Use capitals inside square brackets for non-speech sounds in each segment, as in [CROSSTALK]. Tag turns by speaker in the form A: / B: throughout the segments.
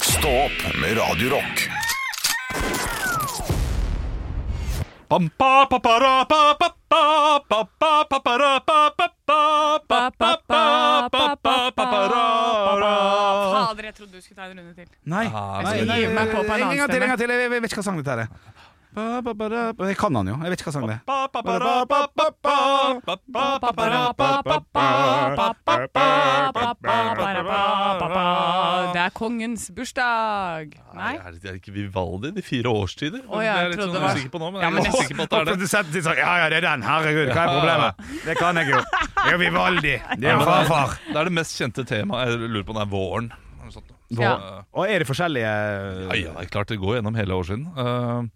A: Stå opp med Radio Rock.
B: Bam, ba, ba, ba, ra, ba, ba, ba, ba, ba, ba, ba, ra, ba, ba, ba, ba, ba, ba, ba, ba, ba, ba, ra, ra.
C: Fader, jeg trodde du skulle ta en runde til.
D: Nei. Ah, nei,
C: skal
D: nei,
C: gi meg på på en
D: en
C: annen
D: gang til,
C: stemme.
D: en gang til. Jeg vet ikke hva sang dette her er. Ba, ba, ba, da, ba. Jeg kan han jo. Jeg vet ikke hva sang det er.
B: Ba, ba, ba, ra, ba, ba, ba, ba, ba, ba, ba, ra, ba, ba, ba, ba, ba, ba, ba, ba, ra, ba, ba, ba.
C: Det er kongens bursdag! Nei?
E: Er det, er det ikke Vivaldi? De fire årstider?
C: Å, ja, jeg
E: det er litt
C: trodde
E: sånn
C: det var-
E: usikker på nå, men
C: Ja,
E: jeg
C: men
E: er litt sikker på at det er det.
D: Produsenten sier sånn Ja ja, det er den. Herregud, hva er problemet? Det kan jeg jo. Det er jo Vivaldi. Det er jo farfar.
E: Det er det mest kjente temaet. Jeg lurer på om det er våren. eller noe sånt. Så,
C: Ja.
E: eh,
D: Og er det forskjellige
E: Ja, ja, det er klart det går gjennom hele årssiden. Uh,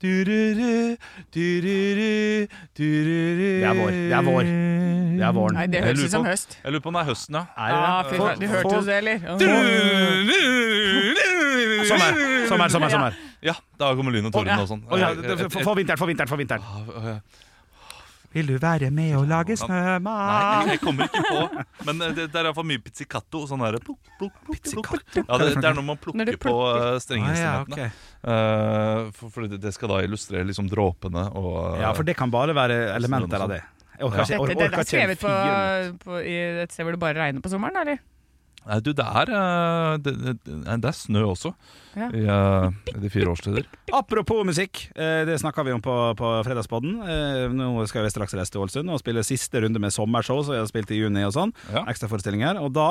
E: dururu, dururu, dururu.
D: Det er vår, det er vår. Det er våren.
C: Nei, det
E: Jeg
C: høres
E: lurer
C: ut som
E: på-
C: høst.
E: Jeg lurer på om det er høsten, ja.
D: Er
C: Ja,
D: det
C: fy
D: det?
C: faen. Du
D: Få-
C: hørte
D: få-
C: du det, eller?
E: Dururu.
D: Sommer, sommer, sommer. sommer.
E: Ja, da kommer lyn og torden og sånn.
D: Å, ja, det- få- få vinteren, få vinteren, få vinteren. Ah, Vil du være med og lage snømann?
E: Nei, jeg kommer ikke på. Men eh, det, det er iallfall mye pizzicato. og Sånn der, plukk, plukk, plukk, plukk. Ja, det, det er når man
C: Når
E: plukker
C: du
E: på eh,
D: Ah, ja,
E: strengeinstrumentene.
D: ok.
E: Eh, for, for det, det skal da illustrere liksom dråpene og eh,
D: ja, for det kan bare være elementer av det. Jeg orker ikke, jeg
C: Dette,
D: orker
C: dette er
D: ikke en
C: skrevet på,
D: fyr. liksom.
C: på, i et sted hvor det bare regner på sommeren, eller?
E: Nei, du, det er, eh, det, det, nei, det er snø også
C: Ja.
E: i eh, i de fire årstider.
D: Apropos musikk, eh, det snakka vi om på, på fredagspodden. Eh, Nå skal vi straks reise til Ålesund og spille siste runde med sommershow, som vi har spilt i juni og sånn.
E: Ja.
D: Ekstraforestillinger. Og da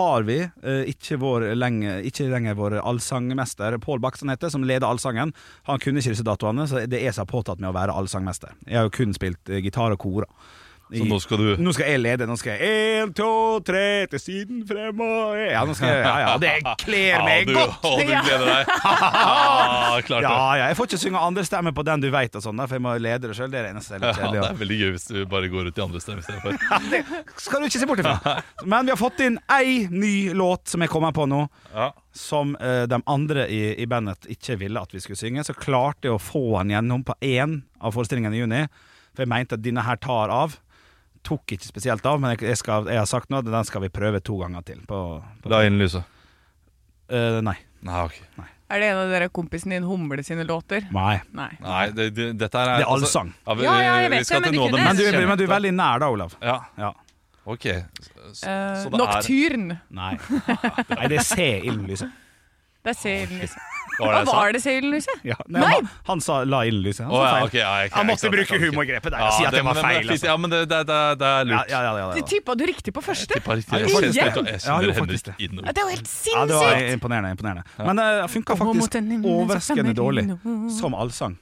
D: har vi eh, ikke, vår lenge, ikke lenger vår allsangmester Pål Bakk, som han heter, som leder allsangen. Han kunne ikke disse datoene, så det er jeg som har påtatt meg å være allsangmester. Jeg har jo kun spilt eh, gitar og kor. da.
E: Så nå skal du
D: Nå skal jeg lede. Nå skal jeg én, to, tre, til siden frem og Ja, nå skal jeg, ja, ja, det kler meg
E: du,
D: godt!
E: å, du gleder deg! Ah, klart det.
D: Ja, ja, jeg får ikke synge andre stemmer på den du veit, og sånn, da, for jeg må lede det sjøl. Det er det eneste.
E: Ja,
D: Litt
E: det
D: kjedelig,
E: er veldig gøy hvis du bare går ut i andre stemmer istedenfor.
D: og- Skal du ikke se bort ifra. Men vi har fått inn ei ny låt som jeg kommer på nå,
E: Ja.
D: som eh, de andre i, i bandet ikke ville at vi skulle synge. Så klarte jeg å få den gjennom på én av forestillingene i juni, for jeg mente at denne her tar av. Tok ikke spesielt av, men jeg, jeg, skal, jeg har sagt nå at den skal vi prøve to ganger til. På, på,
E: La inn lyset.
D: Eh, nei.
E: Nei, ok.
C: Er det en av dere kompisen din Humle sine låter?
D: nei.
C: Nei.
E: Nei det, det, dette her er altså,
D: Det er allsang.
E: ja, vi,
C: Ja, ja, jeg vet
E: vi skal
C: det, men
E: til
C: du
E: noe av det
C: kunne-
D: Men du,
E: mest
D: men du er
E: kjente.
D: veldig nær, da, Olav.
E: Ja,
D: Ja.
E: ok. Så, så,
C: Eh,
E: så det er
C: Nocturne.
D: Nei. nei, det er se ilden lyse.
C: Det er Se i ildenlyset.
E: Var det jeg sa?
C: Var det Se i ildenlyset?
D: Ja, nei, Han, han sa la inn lyset. Han
E: Å,
D: sa
E: ja,
D: feil.
E: ok, ja, jeg-
D: Han måtte
E: jeg- jeg-
D: bruke
E: jeg- jeg-
D: humorgrepet der og si at
E: det-
D: det var
E: men-
D: feil,
E: men-
D: altså.
E: Ja, men det, det, det, det
D: Ja,
E: er lurt.
D: ja, ja, ja,
C: Du
D: ja.
C: tippa du riktig på første?
E: Tippa riktig. Jeg
D: gjorde
E: kjenner,
C: det.
E: jeg tror-
D: Ja,
E: jeg
D: jeg
E: kjenner
D: gjorde faktisk
E: Henrik inn
C: Ja,
E: og
C: Det er jo helt
D: ja, det var
C: sinnssykt!
D: imponerende. imponerende. Men eh, det funka faktisk overraskende dårlig som allsang.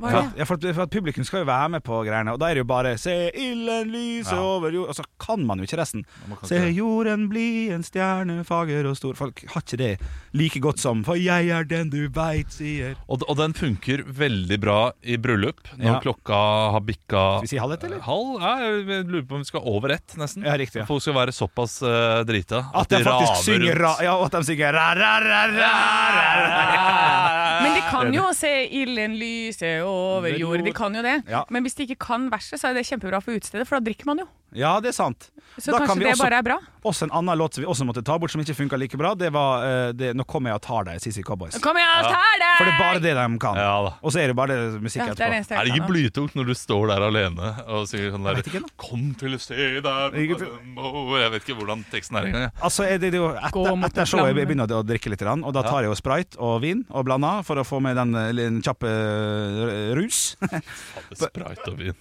C: Hva er
D: For
C: det?
D: at, ja, for, at, for at Publikum skal jo være med på greiene, og da er det jo bare 'Se ilden lyse
E: Ja.
D: over jord' Og så kan man jo ikke resten.
E: man kan
D: 'Se
E: ikke det.
D: jorden bli en stjerne fager og stor' Folk har ikke det like godt som 'For jeg er den du veit', sier
E: Og, og den funker veldig bra i bryllup når
D: Ja.
E: klokka har
D: Skal
E: bikka
D: vi si halv ett, eller?
E: Halv? Ja, jeg lurer på om vi skal over ett, nesten.
D: Ja, riktig, ja.
E: Folk skal være såpass eh, drita
D: At de faktisk
E: raver
D: synger
E: rundt. [LAUGHS]
D: ra, Ja, og at de synger ra, ra, ra, ra, ra, ra.
C: Men de kan jo se ilden lyse over jord, de kan jo det.
D: Ja.
C: Men hvis de ikke kan verset, så er det kjempebra for utestedet, for da drikker man jo.
D: Ja, det er sant.
C: Så
D: Da kan vi
C: kanskje det
D: også-
C: bare er bra.
D: Også en annen låt som vi også måtte ta bort, som ikke funka like bra. Det var eh, det, 'Nå kommer jeg og tar deg', CC Cowboys.
C: Kom igjen, ta deg!
D: For det er bare det de kan.
E: Ja da.
D: Og så er det bare det musikk
C: Ja, det er det
D: etterpå.
C: eneste
E: Er det
C: jeg
E: ikke
C: kan.
E: blytungt når du står der alene og synger sånn der
D: vet ikke, da.
E: Kom til et sted der
D: Ikke
E: Åh, Jeg vet ikke hvordan teksten er engang. jeg.
D: Altså, er det, det er jo etter,
C: Gå mot
D: etter showet
C: flammen.
D: begynner jeg å drikke litt, grann, og da tar jeg jo sprite og vin og blander for å få med den eh, lille kjappe eh, rus. [LAUGHS]
E: Fader, Sprite og vin.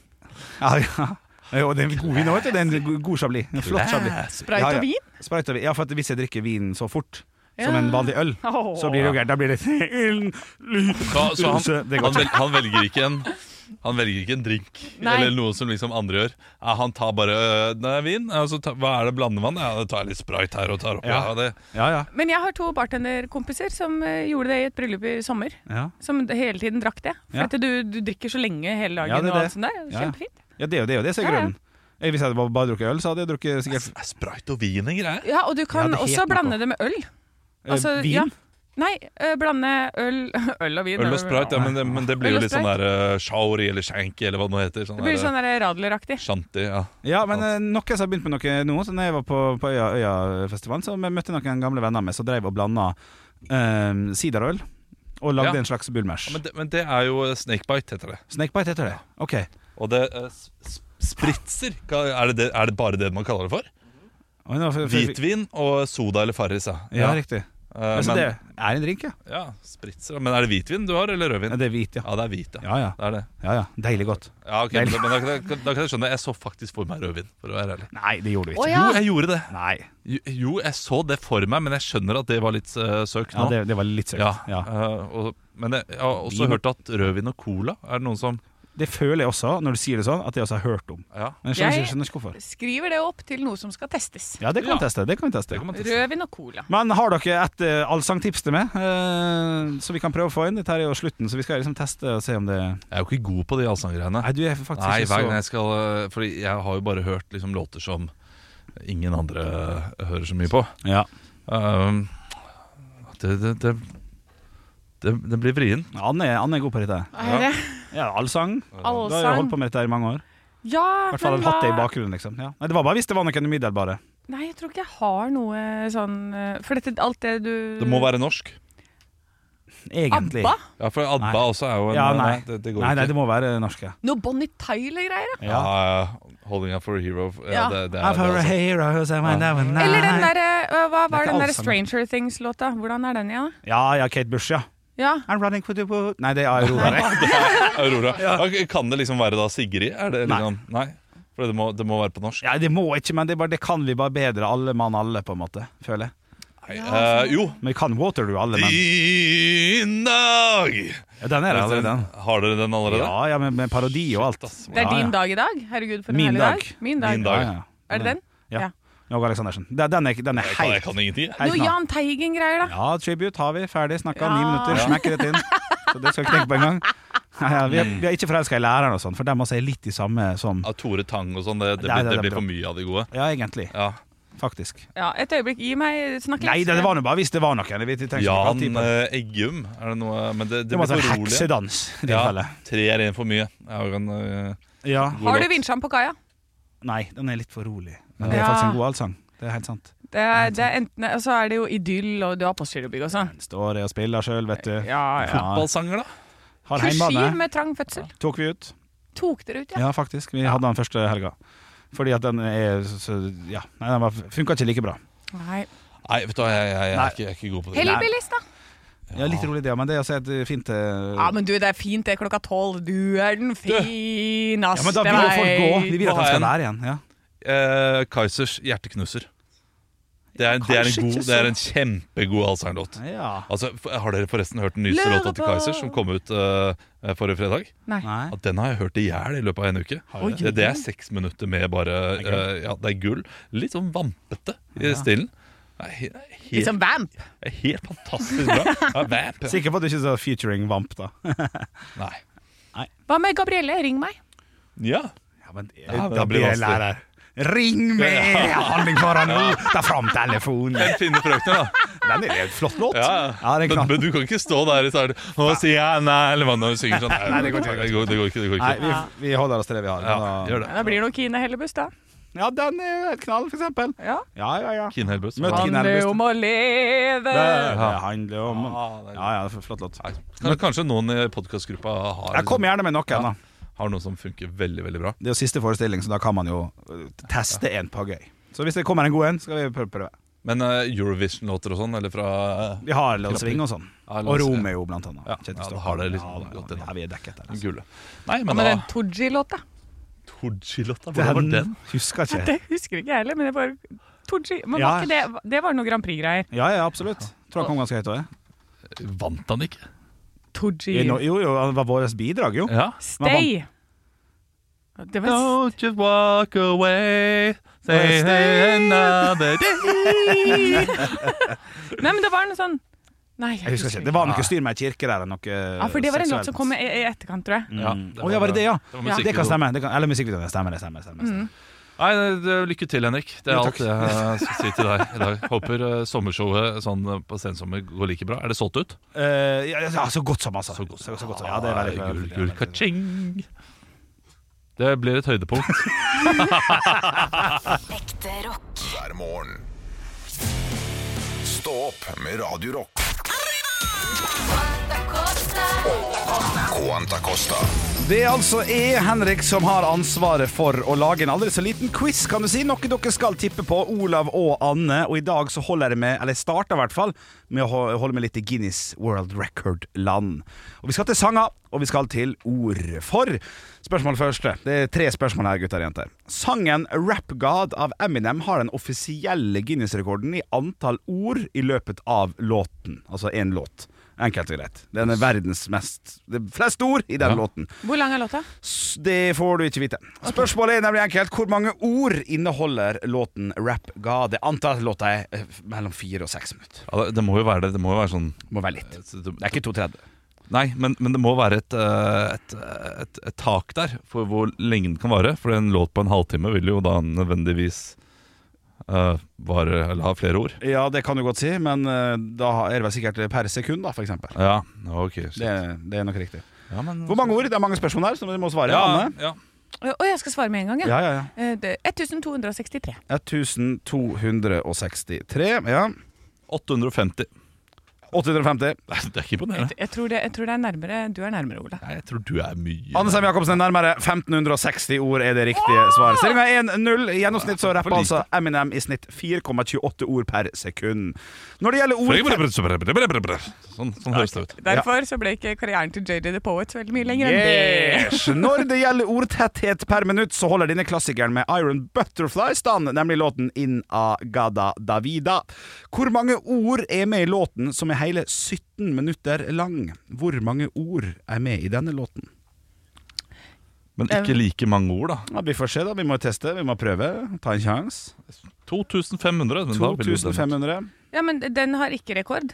D: ja, ja. Jo, det er en god vin òg, vet du. Det er en go- god chablis. En flott chablis.
C: Sprite
D: Ja, ja.
C: og
D: [LAUGHS]
C: vin?
D: Sprite og vin. Ja, for at hvis jeg drikker vin så fort, som
C: Ja.
D: en vanlig øl,
C: Åh.
D: [LAUGHS] så blir det jo gærent. Da blir det
E: Så, så han,
D: Det går
E: han, vel, han velger ikke en Han velger ikke en drink
C: Nei.
E: eller noe som liksom andre gjør. Ja, han tar bare øh, det er vin. Altså, ta, hva er det? Blandevann? Ja, det tar litt sprayt her og tar oppi. Ja.
D: Ja.
E: det.
D: Ja, ja.
C: Men jeg har to bartenderkompiser som eh, gjorde det i et bryllup i sommer.
D: ja.
C: Som d- hele tiden drakk det. For
D: Ja.
C: at du, du drikker så lenge hele dagen.
D: Ja, det er
C: og
D: det.
C: alt sånt der.
D: Ja, ja.
C: Kjempefint.
D: ja det er jo det, er jo det som er
C: Ja, ja.
D: grunnen. Jeg, hvis jeg hadde bare, bare drukket øl, så hadde jeg drukket sikkert
E: Er sprayt og vin en greie?
C: Ja, og du kan
D: det er helt
C: også
D: noe.
C: blande det med øl.
D: eh,
C: Altså,
D: vin.
C: ja. Nei, ø, blande øl [LAUGHS] Øl og vin.
E: Øl og sprayt, ja, men det, men det blir jo
C: Øl og
E: litt sånn der uh, shauri eller shanky eller hva det nå heter. Sånn
C: Det blir
E: der,
C: sånn der radleraktig.
E: Shanti, ja.
D: Ja, men eh, noen som har begynt med noe nå Så når jeg var på, på Øya, Øyafestivalen Så vi møtte noen gamle venner med Som drev og blanda eh, siderøl Og lagde
E: Ja.
D: en slags bulmash
E: Ja, Men det, men det er jo snakebite, heter det.
D: Snakebite heter det Ok
E: Og det eh, s- s- Spritzer? Hva- Er det, det, er det bare det man kaller det for?
D: Oi, nå f- f-
E: Hvitvin og soda eller Farris, ja.
D: Ja, riktig
E: Eh,
D: Altså,
E: men,
D: det er en drink, ja
E: ja, spritzer. Men er det hvitvin du har, eller rødvin?
D: Ja, Det er hvit, ja
E: Ja, det er hvit, ja.
D: Ja, ja,
E: Det er det.
D: ja, ja. Deilig godt
E: Ja, ok, men, men da, kan jeg- da kan jeg skjønne det. Jeg så faktisk for meg rødvin, for å være ærlig.
D: Nei, det gjorde vi
F: Å
D: ikke
F: ja.
E: Jo, jeg gjorde det.
D: Nei
E: Jo, Jo, jeg så det for meg, men jeg skjønner at det var litt eh, søkt
D: ja,
E: nå.
D: det, det var litt søkt
E: Ja,
D: ja.
E: eh, og, men jeg, jeg har også
D: Vin.
E: hørt at rødvin og cola er det noen som
D: Det føler jeg også, når du sier det sånn At jeg også har hørt om
E: Ja,
D: Men jeg skjønner,
C: Jeg-
D: ikke- skjønner ikke hvorfor
C: Skriver det opp til noe som skal testes.
D: Ja, det kan vi
E: Ja.
D: teste, det kan vi teste
E: det kan man teste.
C: Rødvin og cola.
D: Men har dere et eh, allsangtips til meg? eh, som vi kan prøve å få inn? Dette her er jo slutten, så vi skal liksom teste og se om det
E: Jeg er jo ikke god på de allsanggreiene.
D: Nei, du er faktisk
E: Nei,
D: ikke
E: hver gang
D: så
E: jeg skal eh, Fordi jeg har jo bare hørt liksom låter som ingen andre eh, hører så mye på.
D: ja.
E: Um, det, det, det, det, det blir vrien.
D: Anne, er- Anne er god på dette.
C: Er det
D: Ja, Allsang. Du har jo
C: allsang?
D: holdt på med dette her i mange år.
C: Ja,
D: I hvert fall
C: men
D: hatt det i
C: hva-
D: bakgrunnen, liksom. Ja. Nei, det var bare hvis det var noen umiddelbare.
C: Nei, jeg tror ikke jeg har noe sånn eh, For dette, alt det du
E: Det
D: Mm.
E: må være norsk.
D: Egentlig.
C: ABBA?
E: Ja, for ABBA
D: Nei.
E: også er jo en eh,
D: Ja, nei.
E: det, det går
D: Nei, nei,
E: ikke.
D: det må være norske.
C: Noe Bonnie Tyler-greier? da?
E: ja. ja, 'Holding Up for a Hero'
C: Ja.
E: ja, Det, det er
D: I've
E: det,
D: heard a
E: altså.
D: hero who's a man, man, man.
C: Eller den derre Hva
D: Det er
C: var
D: ikke
C: den derre
D: allsang.
C: Stranger Things-låta? Hvordan er den igjen? da?
D: Ja, ja, Kate Bush, ja.
C: Ja.
D: I'm running for the wood Nei, det er Aurora.
E: Aurora. Ok, Kan det liksom være da Sigrid? Er det liksom, nei. For det må, det må være på norsk.
D: Ja, det må ikke, men det, er bare, det kan vi bare bedre alle mann alle, på en måte. Føler jeg.
E: Nei, eh, jo.
D: Men vi kan Waterloo alle, altså. men
E: Din dag!
D: ja, Den er det allerede, den.
E: Har dere den allerede?
D: Ja, ja, med, med parodi og alt.
E: Ass,
C: Det er
D: Ja, ja.
C: din dag i dag? Herregud, for en
D: Min
C: herlig
D: dag.
C: dag. Min dag.
E: Min dag.
D: Ja, ja.
C: Er det den?
D: Ja.
C: Ja.
D: Någe Aleksandersen. Den den er, den er
E: Jeg kan, jeg
D: helt,
E: kan ingenting. jeg.
D: helt
C: Noe
D: nå.
C: Jahn Teigen-greier, da.
D: Ja, tribute har vi. Ferdig snakka. Ni
C: Ja.
D: minutter,
E: Ja.
D: smekker rett inn. Så det skal vi ikke tenke på engang. Ja, ja, vi, er, vi er ikke forelska i læreren og sånn, for dem også er litt i samme som
E: Mm. Ja, Tore Tang og sånn, det, det,
D: Ja,
E: blir-
D: det-
E: det
D: det
E: blir for mye av de gode.
D: Ja, egentlig.
E: Ja.
D: Faktisk.
C: Ja, et øyeblikk, gi meg Snakk litt.
D: Nei, det var nå bare hvis det var noen. Vi trenger ikke bruke all
E: Jan
D: tid på det.
E: eh, Eggum, er det noe Men det, det,
D: Det må
E: blir
D: være
E: for
D: en
E: rolig.
D: heksedans. i
E: Ja,
D: tilfelle.
E: tre er en for mye. Jeg har jo en eh,
D: Ja.
E: god
C: Har du
E: låt.
C: vinsjan på kaia?
D: Nei, den er litt for rolig. Men det er
C: Ja.
D: faktisk en god allsang. Det er helt sant.
C: Det er, det er enten, og så er det jo idyll, og du har postgirobygg og sånn.
D: Den står jeg og spiller sjøl, vet du.
C: Ja, ja.
E: Fotballsanger, da?
D: Har
C: Kursiv
D: heimbane.
C: med trang fødsel.
D: Tok vi ut.
C: Tok dere ut, ja?
D: Ja, faktisk. Vi hadde den første helga. Fordi at den er så- så, Ja, nei, den var- funka ikke like bra.
C: Nei.
E: Nei, vet du hva, jeg, jeg, jeg,
D: Nei.
E: er ikke, jeg er ikke god på det.
C: Hellbillies, da.
D: Ja, litt rolig det, men det er altså et fint eh,
C: Ja, men du, det er fint, det er klokka tolv. Du er den fineste
D: Ja, men da vil jo folk gå. Vi vil at
E: Hva
D: han skal
E: er
D: være igjen. Ja.
E: Eh, Kaizers 'Hjerteknuser'. Det er, det, er
D: Kanskje
E: en god,
D: ikke så-
E: det er en kjempegod allsanglåt.
D: ja.
E: Altså, f- har dere forresten hørt den nyeste låta til
C: Lurer på-
E: Kaizers som kom ut eh, forrige fredag?
C: Nei.
D: Nei.
E: Ja, den har jeg hørt i hjel i løpet av en uke.
D: Har du
E: Det, det er seks minutter med bare
D: Det er gull.
E: eh, Ja, det er gull. Litt sånn vampete i
D: Ja. sånn-
E: stilen. Det er he- det er
C: Litt
E: helt,
C: som vamp.
E: det er helt fantastisk bra. Ja, vamp. ja.
D: Sikker på at du ikke sa featuring Vamp, da.
E: Nei.
C: Hva med Gabrielle? Ring meg.
E: Ja.
D: Ja, men det,
E: Ja,
D: da
E: det
D: blir
E: blir
D: jeg lærer. Ring meg! Jeg har meg foran nå! Ta fram telefonen!
E: Den fine frøkner, da.
D: Den er en flott låt.
E: Ja,
D: Ja, den er
E: men,
D: knall.
E: men du kan ikke stå der i starten og si ja, nei, eller hva når du synger sånn.
D: Nei, det går ikke,
E: Det går, det går ikke. Det går
D: Nei,
E: ikke.
D: vi, vi holder oss til det vi har.
E: Ja,
D: Da-
E: gjør
C: Da
E: det.
C: blir det jo Kine Hellebuss, da.
D: ja den er jo et knall, for eksempel.
C: Ja.
D: Ja, ja, ja.
E: Kine Helbøs.
D: Møtt
E: Ja.
D: Kine.
C: Handler
D: Hellebuss, da.
C: om å
D: Det,
C: leve.
D: det handler om
E: Ah, det er-
D: Ja, ja, flott låt.
E: Nei, kan- Kanskje noen i podkastgruppa har,
D: Jeg kom gjerne med noen, da.
E: har noe som funker veldig veldig bra.
D: Det er jo siste forestilling, så da kan man jo øh, teste en på gøy. Så hvis det kommer en god en, skal vi prøve. prøve.
E: Men eh, Eurovision-låter og sånn, eller fra eh,
D: Vi har Lars Sving og sånn.
E: Ja,
D: Og
E: Lars-
D: Romeo, blant annet.
E: Ja,
D: Kjetil
E: ja, da
D: Stokkan.
E: har det liksom
D: da,
E: gått inn.
D: Ja, vi er dekket der. Altså.
E: Gule. Nei,
C: Og
E: men
C: med
E: da
C: den Tooji-låta.
E: Tooji-låta, hvordan var den?
D: Husker ikke.
C: Det husker ikke jeg heller, men det var Tooji. Men
D: Ja.
C: var ikke det, det var noe Grand Prix-greier.
D: Ja, ja, absolutt. Tror jeg kom ganske høyt òg.
E: Vant han ikke?
C: Tooji.
D: I no- Jo, jo, det var vårt bidrag, jo.
E: Ja.
C: Stay! Det var s-
E: Don't just walk away. Say
D: Stay.
E: another day.
C: [LAUGHS] Nei, men det var noe sånn Nei, jeg
D: Jeg husker ikke, Det var noe styr med ei kirke der. eller Noe
C: Ja, for det var en låt som kom i i etterkant, tror jeg.
D: Ja, det var, ja, var det det, ja?
E: Mm. var
C: Ja.
E: musikkvideo.
D: Det kan stemme. Det kan, eller musikkvideoen. Det stemmer, det stemmer. stemmer, stemmer.
C: Mm.
E: Nei, det- det- Lykke til, Henrik. Det er
D: Jo,
E: alt
D: takk.
E: jeg skal si til deg i dag. Håper eh, sommershowet sånn eh, på sensommer går like bra. Er det solgt ut?
D: Eh, ja, ja, så godt som, altså. Så godt som. Ja, det er veldig
E: Ah, Gull,
D: veldig-
E: gull, ka-ching. Det blir et høydepunkt.
G: Ekte rock.
A: hver morgen. Stå opp med Radio Rock. Quanta Costa.
D: Det er altså jeg, Henrik, som har ansvaret for å lage en aldri så liten quiz, kan du si. Noe dere skal tippe på, Olav og Anne. Og i dag så holder jeg med, eller jeg starter i hvert fall, med å ho- holde med litt i Guinness World Record-land. Og vi skal til sanger, og vi skal til ord. For spørsmål første. Det er tre spørsmål her, gutter og jenter. Sangen Rap God av Eminem har den offisielle Guinness-rekorden i antall ord i løpet av låten. Altså én låt. Enkelt og greit. Den er verdens mest Det er flest ord i den
E: Ja.
D: låten.
C: Hvor lang er låta?
D: S- Det får du ikke vite. Spørsmålet er nemlig enkelt. Hvor mange ord inneholder låten Rap God? Jeg antar at låta er eh, mellom fire og seks minutter.
E: Ja, det, det må jo være det. Det må jo være sånn
D: Må være litt. Det er ikke 2,30.
E: Nei, men, men det må være et, eh, et, eh, et, et tak der for hvor lenge den kan vare. For en låt på en halvtime vil jo da nødvendigvis eh, vare eller ha flere ord.
D: Ja, det kan du godt si, men eh, da er det vel sikkert per sekund, da, for eksempel.
E: Ja, ok. shit.
D: Det, det er nok riktig.
E: ja, men,
D: Hvor mange ord? Det er mange spørsmål her, så du må svare.
E: Ja,
D: Anne?
E: ja.
C: Å, jeg skal svare med en gang, ja.
D: Ja, ja, ja.
C: Eh, det- 1263.
D: 1263. Ja.
E: 850.
D: 850.
E: Nei, det er ikke imponerende.
C: Jeg tror, det, jeg tror det er nærmere Du er nærmere, Ola.
E: Nei, jeg tror du er mye
D: Anne Sem Jacobsen er nærmere 1560 ord er det riktige svaret. Stillinga er 1-0. I gjennomsnitt så rapper
E: For lite.
D: altså Eminem i snitt 4,28 ord per sekund. Når det gjelder ord
E: Sånn, sånn høres det ut.
C: Derfor så ble ikke karrieren til JJ The Poet så veldig mye lenger enn det.
D: Yes. Når det gjelder ordtetthet per minutt, så holder denne klassikeren med Iron Butterfly stand, nemlig låten In a Gada Davida. Hvor mange ord er med i låten som er hele 17 minutter lang? Hvor mange ord er med i denne låten?
E: Men ikke like mange ord, da.
D: Ja, vi får se, da. Vi må teste, vi må prøve. Ta en sjanse.
E: 2500. Men da vil jo den-
D: 2500.
C: Ja, men den har ikke rekord.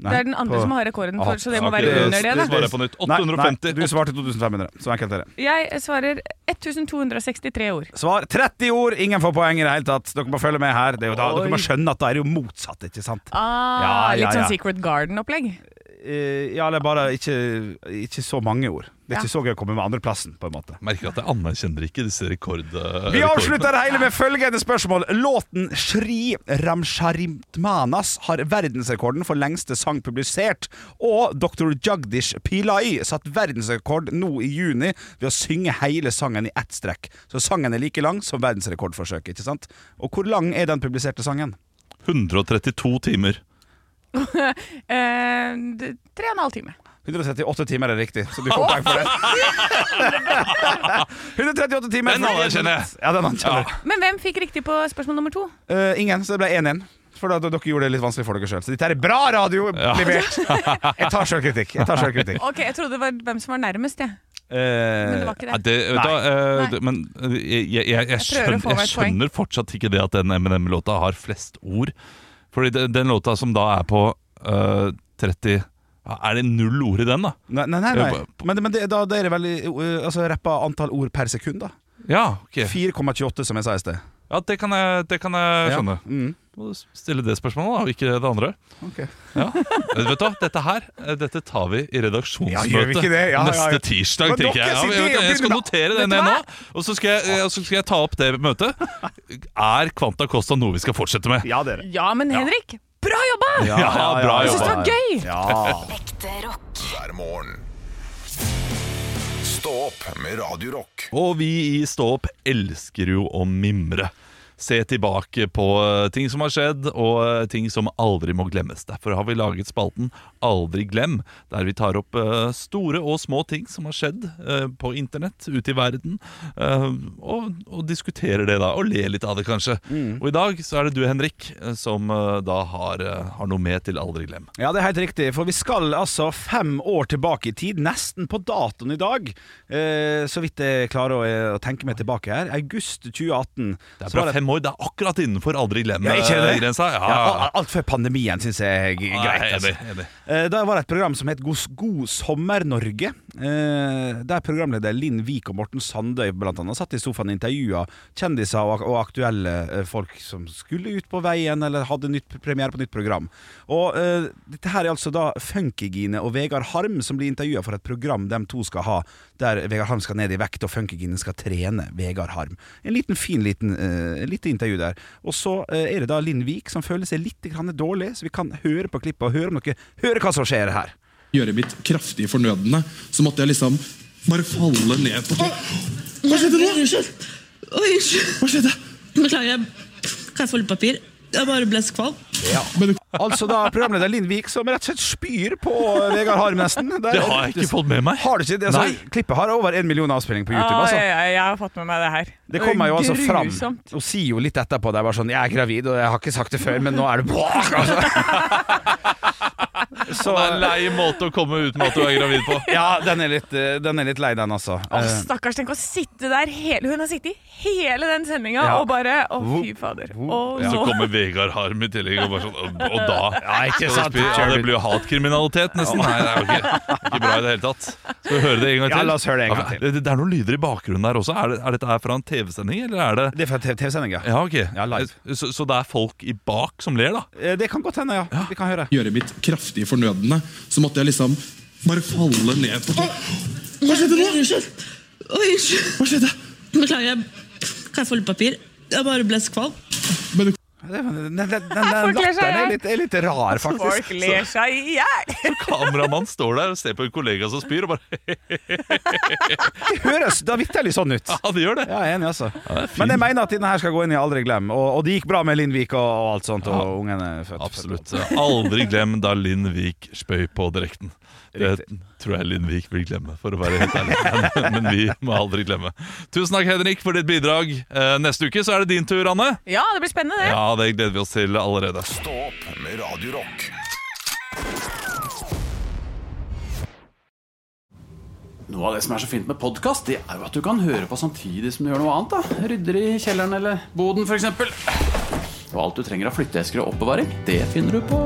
D: Nei,
C: det er den andre
D: på-
C: som har rekorden,
D: Ah,
C: for, så det må
E: ok,
C: være
E: det-
C: under det.
E: det
C: da
E: svarer jeg på nytt.
D: Nei,
E: 850.
D: Nei, du svarte 2500. Så enkelt er det.
C: Jeg svarer 1263 ord.
D: Svar 30 ord. Ingen får poeng i det hele tatt. Dere må følge med her. Det er jo da,
C: Oi.
D: dere må skjønne at da er det jo motsatt, ikke sant?
C: Ah,
D: Ja, ja,
C: litt
D: ja.
C: sånn Secret Garden-opplegg.
D: Eh, Ja, eller bare ikke, ikke så mange ord. Det er
C: Ja.
D: ikke så gøy å komme med andreplassen, på en måte.
E: Merker at jeg anerkjenner ikke disse rekord... eh,
D: Vi
E: rekordene.
D: avslutter det hele med følgende spørsmål. Låten 'Shri Ramsharimtmanas' har verdensrekorden for lengste sang publisert, og Dr. Jagdish Pillai satt verdensrekord nå i juni ved å synge hele sangen i ett strekk. Så sangen er like lang som verdensrekordforsøket, ikke sant? Og hvor lang er den publiserte sangen?
E: 132 timer.
C: Eh, d- Tre og en halv time.
D: 138 timer er riktig, så du får poeng
E: [LAUGHS]
D: for det. 138 timer
E: Den anerkjenner jeg.
D: Ja, den anerkjenner jeg.
C: Men hvem fikk riktig på spørsmål nummer to?
D: Eh, ingen, så det ble 1-1. For da, da, dere gjorde det litt vanskelig for dere sjøl. Så dette er bra
E: [LAUGHS]
D: radio levert! Jeg tar sjølkritikk. Jeg tar selvkritikk.
C: Ok, Jeg trodde det var hvem som var nærmest, jeg. Men det
D: Eh,
C: var ikke
E: Ja,
C: det.
E: det, vet du hva, eh,
C: Nei.
E: det- men eh, jeg, jeg, jeg, jeg,
C: prøver å
E: skjønner,
C: få meg
E: jeg
C: et poeng.
E: skjønner fortsatt ikke det at den Eminem-låta har flest ord. Fordi den, den låta som da er på eh, 30 ja, Er det null ord i den, da?
D: nei, nei, nei, nei. Men, men det, da, da er det vel eh, altså, rappa antall ord per sekund, da.
E: Ja, ok.
D: 4,28, som jeg sa i sted.
E: Ja, det kan jeg, det kan jeg skjønne.
D: Mm.
E: Må du stille det spørsmålet, da, og ikke det andre.
D: Ok.
E: Ja. Vet du hva, dette her eh, Dette tar vi i
D: Ja, gjør vi
E: redaksjonsmøtet
D: ikke det? Ja, ja, ja.
E: neste tirsdag.
D: Men dere
E: tenker jeg ja,
D: sitter
E: men,
D: og
E: vet du, Jeg skal
D: begynner
E: notere det
C: Vet du
E: ned nå,
C: hva?
E: og så skal, jeg, eh, så skal jeg ta opp det møtet. Er Kvanta Costa noe vi skal fortsette med?
D: Ja, dere.
C: Ja, men Henrik, bra jobba!
E: Ja, bra
C: Jeg syns det
E: jobba.
C: var gøy!
D: Ja.
G: Ekte rock.
A: hver morgen. Stå opp med Radio Rock.
E: Og vi i Stå opp elsker jo å mimre. se tilbake på eh, ting som har skjedd, og eh, ting som aldri må glemmes. Derfor har vi laget spalten Aldri glem, der vi tar opp eh, store og små ting som har skjedd eh, på internett, ute i verden, eh, og, og diskuterer det da, og ler litt av det kanskje.
D: Mm.
E: Og i dag så er det du, Henrik, eh, som eh, da har, eh, har noe med til Aldri glem.
D: Ja, det er helt riktig, for vi skal altså fem år tilbake i tid, nesten på datoen i dag. Eh, så vidt jeg klarer å, eh, å tenke meg tilbake her. August 2018.
E: Det er
D: så var
E: bra fem år, det er akkurat innenfor Aldri eh,
D: Ja, ikke det?
E: glem-grensa.
D: Ja, al- alt før pandemien syns jeg er g-
E: Ah,
D: greit. Altså.
E: enig.
D: Eh, Da var det et program som het God, God sommer Norge. eh, Der programleder Linn Vik og Morten Sandøy blant annet satt i sofaen og intervjua kjendiser og, og aktuelle eh, folk som skulle ut på veien eller hadde nytt premiere på nytt program. Og eh, Dette her er altså da Funkygine og Vegard Harm som blir intervjua for et program de to skal ha, der Vegard Harm skal ned i vekt og Funkygine skal trene Vegard Harm. En liten fin liten, eh, lite intervju der. Og så eh, er det da Linn Vik som føler seg litt grann dårlig, så vi kan høre på klippet og høre om dere hører hva som skjer her.
G: gjøre mitt kraftige fornødende, så måtte jeg liksom bare falle ned på Hva skjedde nå?
H: Unnskyld. Oi, unnskyld.
G: Hva skjedde?
H: Beklager. jeg- Kan jeg få litt papir? Jeg bare ble skvalm.
G: Men
D: Altså da programleder Linn Vik som rett og slett spyr på Vegard Harm nesten. er-
E: Det har jeg ikke fått med meg.
D: Har du ikke det? Altså,
E: Nei.
D: Klippet har over en million avspilling på YouTube.
C: Ah,
D: Altså.
C: jeg, jeg, jeg har fått med meg det her.
D: Det kommer jo altså fram
C: Grusomt.
D: og sier jo litt etterpå. Det er bare sånn 'Jeg er gravid, og jeg har ikke sagt det før, men nå er det brak!'
E: [LAUGHS]
D: Altså.
E: Det er
D: Så
E: en lei måte å komme ut med at du er gravid på.
D: ja, den er litt, eh, den er litt lei, den, altså.
C: Å,
D: Eh,
C: stakkars, tenk å sitte der hele Hun har sittet i hele den sendinga
D: Ja.
C: og bare Å, fy
D: Hvor-
C: fader. Å,
D: hvor-
E: Så
C: nå.
E: kommer Vegard Harm i tillegg, og, bare sånn, og, og da
D: Ja, ikke
E: Så
D: sant?
E: spyr- ja, Det blir jo hatkriminalitet, nesten. Nei, det er jo ikke, ikke bra i det hele tatt. Skal vi høre det en gang
D: Ja,
E: til?
D: la oss høre det en gang til.
E: Ja, Det, det er noen lyder i bakgrunnen der også. Er, det, er dette her fra en TV-sending, eller er det
D: Det er fra TV-sendinga.
E: Ja, ok.
D: Ja, live.
E: Så, så det er folk i bak som ler, da?
D: Eh, Det kan godt hende, ja. Vi kan høre.
G: gjøre mitt kraftige fornødende, så måtte jeg liksom bare falle ned på Hva skjedde nå?
H: Unnskyld. Oi, unnskyld.
G: Hva skjedde?
H: Beklager. jeg- Kan jeg få litt papir? Jeg bare ble skvalm.
G: Men
D: Den, den, den, den, den
C: [LAUGHS] Folk ler seg
D: latteren er
C: i hjel.
D: litt, er litt rar, faktisk.
C: Folk ler seg i hjel.
E: Kameramann står der og ser på en kollega som spyr, og bare [LAUGHS]
D: Det høres da vitterlig sånn ut.
E: Ja, det gjør det.
D: Ja, jeg er enig, altså.
E: det er fint.
D: Men jeg mener at denne her skal gå inn i Aldri glem. Og, og det gikk bra med Lindvik og, og alt sånt, og ungene er født.
E: Absolutt. Aldri glem da Linn Vik spøy på direkten. Det tror jeg Linn Vik vil glemme, for å være helt ærlig. Men, men vi må aldri glemme. Tusen takk, Henrik, for ditt bidrag. Eh, Neste uke så er det din tur, Anne.
C: Ja, det blir spennende, det.
E: Ja, det gleder vi oss til allerede.
A: Stå opp med Radio Rock.
I: Noe av det som er så fint med podkast, det er jo at du kan høre på samtidig som du gjør noe annet. da. Rydder i kjelleren eller boden, f.eks. Og alt du trenger av flytteesker og oppbevaring, det finner du på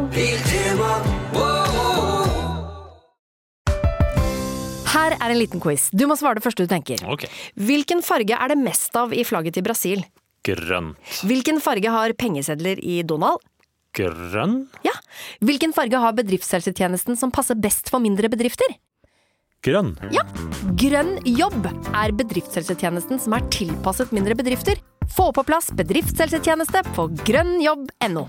F: Her er en liten quiz. Du må svare det første du tenker.
J: Ok.
F: Hvilken farge er det mest av i flagget til Brasil?
J: Grønn.
F: Hvilken farge har pengesedler i Donald?
J: Grønn?
F: Ja. Hvilken farge har bedriftshelsetjenesten som passer best for mindre bedrifter?
J: Grønn.
F: Ja. Grønn jobb er bedriftshelsetjenesten som er tilpasset mindre bedrifter. Få på plass bedriftshelsetjeneste på grønnjobb.no.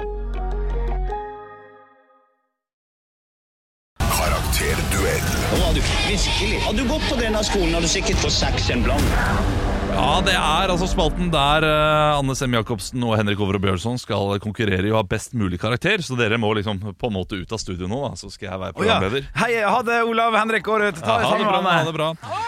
A: Karakterduell.
E: Ja, det er altså spalten der eh, Anne Sem Jacobsen og Henrik Over og Bjørnson skal konkurrere i å ha best mulig karakter. Så dere må liksom på en måte ut av studio nå, da, så skal jeg være
D: Å, ja.
E: programleder.
D: Hei, ha det, Olav Henrik Aarhus. Ta
E: Ha
D: deg
E: det bra.
D: sammen
E: Ha
D: med
E: det bra.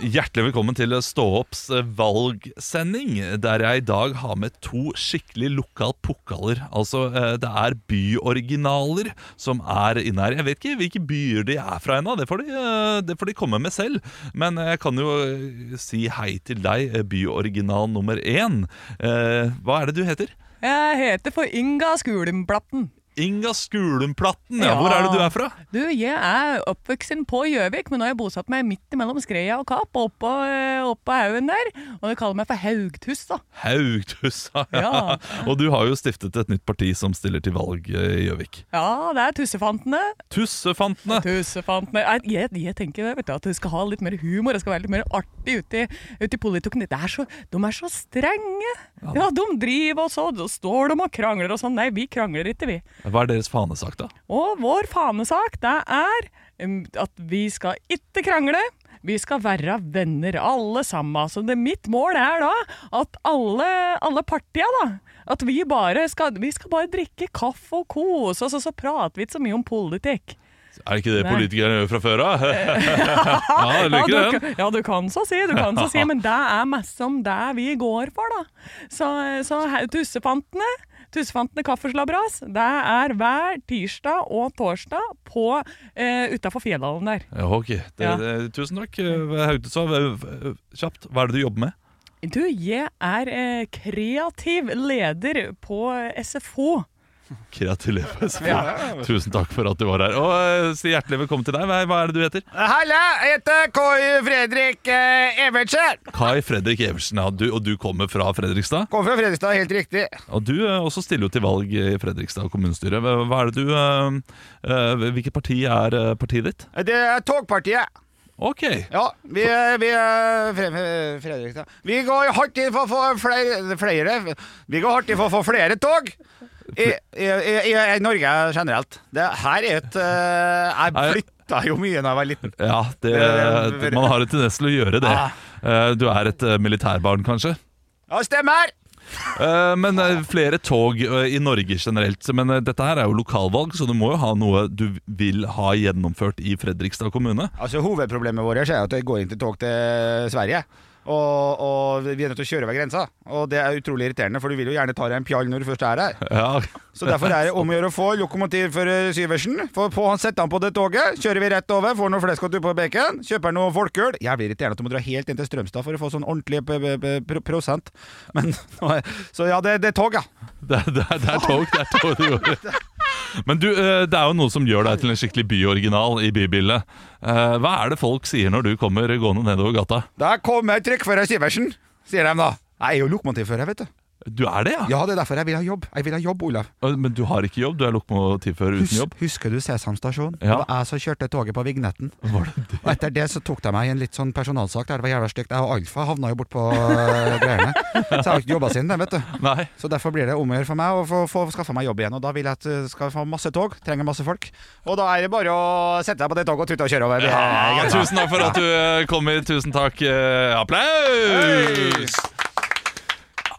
E: Hjertelig velkommen til Stå opps valgsending, der jeg i dag har med to skikkelig lokal pukkaler. Altså, eh, det er byoriginaler som er inne her. Jeg vet ikke hvilke byer de er fra ennå, det, får de, eh, det får de komme med selv. Men jeg kan jo eh, si hei til deg, eh, byoriginal nummer én. Eh, Hva er det du heter?
C: Jeg heter for Inga Skulenplatten.
E: Inga Skulumplatten, ja. Hvor er det du er fra?
C: Du, Jeg er oppvoksen på Gjøvik, men nå har jeg bosatt meg midt imellom Skreia og Kapp, oppå, eh, oppå haugen der. Og de kaller meg for Haugtuss, da.
E: Haugtussa.
C: Ja.
E: [LAUGHS] Og du har jo stiftet et nytt parti som stiller til valg eh, i Gjøvik.
C: Ja, det er tussefantene.
E: Tussefantene.
C: Tussefantene. Nei, Jeg, jeg tenker det, vet du, at det skal ha litt mer humor, det skal være litt mer artig ute i, ute i politikken. Det er så, de er så strenge. Ja, de driver og så, så står de og krangler og sånn. Nei, vi krangler ikke, vi.
E: Hva er deres fanesak, da?
C: Og vår fanesak, det er em, at vi skal ikke krangle. Vi skal være venner, alle sammen. Så det, mitt mål er da at alle, alle partia, da At vi bare skal, vi skal bare drikke kaffe og kose oss, og så prater vi ikke så mye om politikk.
E: Er det ikke det
C: Nei.
E: politikerne gjør fra før
C: [LAUGHS]
E: av? ja, jeg
C: du,
E: liker den.
C: kan- ja, du kan så si, du kan så
E: [LAUGHS]
C: si, men det er mest om det vi går for, da. Så, så her- tussefantene, tussefantene kaffeslabras, det er hver tirsdag og torsdag på eh, utafor Fjelldalen der.
E: Ja, ok, det,
C: Ja.
E: det, Tusen takk. eh, Haugtussa, eh, kjapt, hva er det du jobber med?
C: Du, jeg er eh, kreativ leder på SFO.
E: Kreativ Lepe SFO.
C: Ja.
E: [LAUGHS] Tusen takk for at du var her. Og eh, si hjertelig velkommen til deg. Hva hva er det du heter?
D: Halla, jeg heter Koi Fredrik eh, Evertsen.
E: Kai Fredrik Eversen, ja, du, og du kommer fra Fredrikstad.
D: Kommer fra Fredrikstad, helt riktig.
E: Og du eh, også stiller jo til valg i Fredrikstad kommunestyre. Hva hva er det du eh, eh, Hvilket parti er eh, partiet ditt?
D: Det er Togpartiet.
E: Ok.
D: Ja, vi, eh, vi er frem, Fredrikstad. Vi går hardt inn for å få flere, flere Vi går hardt inn for å få flere tog. I, i, i, i Norge generelt. Det her er et eh, Jeg flytta jo mye da jeg var liten.
E: Ja, det, man har en tendens til å gjøre det. Eh, Du er et eh, militærbarn, kanskje?
D: Ja, stemmer!
E: Eh, Men eh, flere tog eh, i Norge generelt. Men eh, dette her er jo lokalvalg, så du må jo ha noe du vil ha gjennomført i Fredrikstad kommune.
D: Altså Hovedproblemet vårt er at det går ikke tog til Sverige. Og, og vi er nødt til å kjøre over grensa. Og det er utrolig irriterende, for du vil jo gjerne ta deg en pjall når du først er her.
E: Ja.
D: Så derfor er det om å gjøre å få lokomotivfører Syversen. For på han setter han på det toget, kjører vi rett over, får noe flesk og tupp på bacon, kjøper noe folkeøl. Jeg blir irriterende at du må dra helt inn til Strømstad for å få sånn ordentlig p p p prosent. Men, [LAUGHS] så ja, det, det er tog, ja.
E: Det, er- det, er- det er tog, det er tog det gjorde. Men du, eh, det er jo noe som gjør deg til en skikkelig byoriginal i bybildet. Eh, Hva er det folk sier når du kommer gående nedover gata?
D: Der kommer trykkfører Syversen, sier de da. Jeg er jo lokomotivfører, vet du.
E: Du er det, ja?
D: Ja, det er derfor jeg vil ha jobb. Jeg vil ha jobb, Olav.
E: Eh, Men du har ikke jobb, du er lokomotivfører uten
D: Hus-
E: jobb.
D: Husker du Sesam stasjon?
E: Ja.
D: Det var jeg som kjørte toget på vignetten. Og etter det så tok de meg i en litt sånn personalsak der det var jævla stygt. Jeg og Alfa havna jo bortpå greiene. Så jeg har ikke jobba siden det, vet du.
E: Nei.
D: Så derfor blir det om å gjøre for meg å få, få skaffa meg jobb igjen. Og da vil jeg at jeg skal få masse tog, trenger masse folk. Og da er det bare å sette seg på det toget og tute og kjøre over. Det er
E: Ja,
D: greit.
E: tusen takk for at du eh, kom hit. Tusen takk. Eh, Applaus!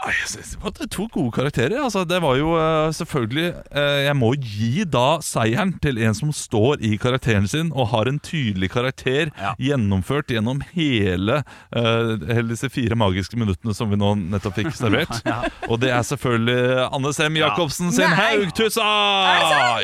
E: Nei, Jeg synes det var to gode karakterer. Altså, det var jo eh, selvfølgelig eh, Jeg må gi da seieren til en som står i karakteren sin og har en tydelig karakter gjennomført gjennom hele, eh, hele disse fire magiske minuttene som vi nå nettopp fikk [LAUGHS] servert.
K: Ja.
E: Og det er selvfølgelig Anne Sem
K: Ja.
E: Jacobsen sin
K: Nei.
E: Haugtussa!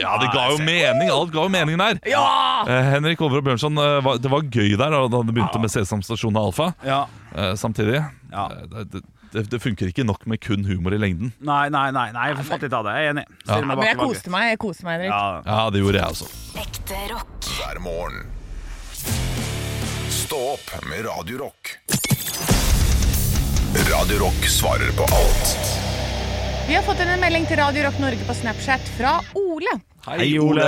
E: Ja, det ga jo mening. Alt ga jo mening der.
K: Ja!
E: Eh, Henrik Over og Bjørnson, eh, var- det var gøy der da da det begynte med Sesam stasjon og Alfa.
B: Ja.
E: Eh, Samtidig. eh, Det, det- det, det funker ikke nok med kun humor i lengden.
B: Nei, nei, nei, nei jeg får fatt litt av det. Jeg er enig.
E: Ja.
B: Stiller meg
C: Men
B: bak i
C: jeg
B: valget.
C: koste meg, jeg koste meg, Henrik.
E: Ja, det gjorde jeg også.
A: Ekte rock. Hver morgen. Stå opp med Radio Rock. Radio Rock svarer på alt.
C: Vi har fått inn en melding til Radio Rock Norge på Snapchat fra Ole.
B: Hei, Ole.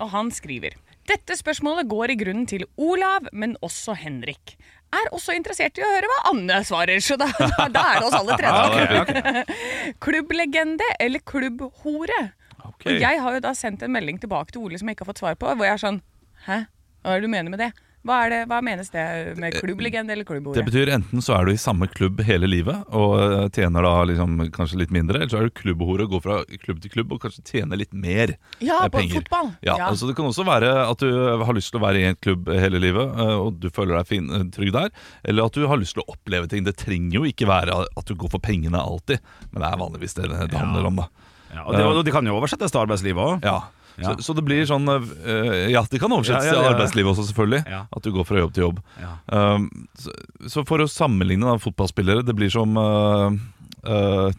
C: Og han skriver Dette spørsmålet går i grunnen til Olav, men også Henrik. Er også interessert i å høre hva Anne svarer, så da, da, da er det oss alle tre. da.
K: Ja,
C: Klubblegende eller klubbhore? Og jeg har jo da sendt en melding tilbake til Ole som jeg ikke har fått svar på, hvor jeg er sånn Hæ? Hva er det du mener med det? Hva, er det, hva menes det med klubblegende eller klubbhore?
E: Eh, Det betyr enten så er du i samme klubb hele livet og eh, tjener da liksom kanskje litt mindre, eller så er du klubbhore og går fra klubb til klubb og kanskje tjener litt mer
C: Ja,
E: eh,
C: på fotball.
E: Ja,
C: Ja.
E: Altså, det kan også være at du har lyst til å være i en klubb hele livet eh, og du føler deg fin, eh, trygg der, eller at du har lyst til å oppleve ting. Det trenger jo ikke være at du går for pengene alltid, men det er vanligvis det det handler om, da.
B: Ja, og det, og det kan jo oversettes til arbeidslivet òg.
E: Ja. Så, så det blir sånn eh, Ja, det kan oversettes
B: Ja, ja, ja, ja.
E: til arbeidslivet også, selvfølgelig.
B: Ja.
E: At du går fra jobb til jobb. Um, så, så for å sammenligne da, fotballspillere Det blir som eh, eh,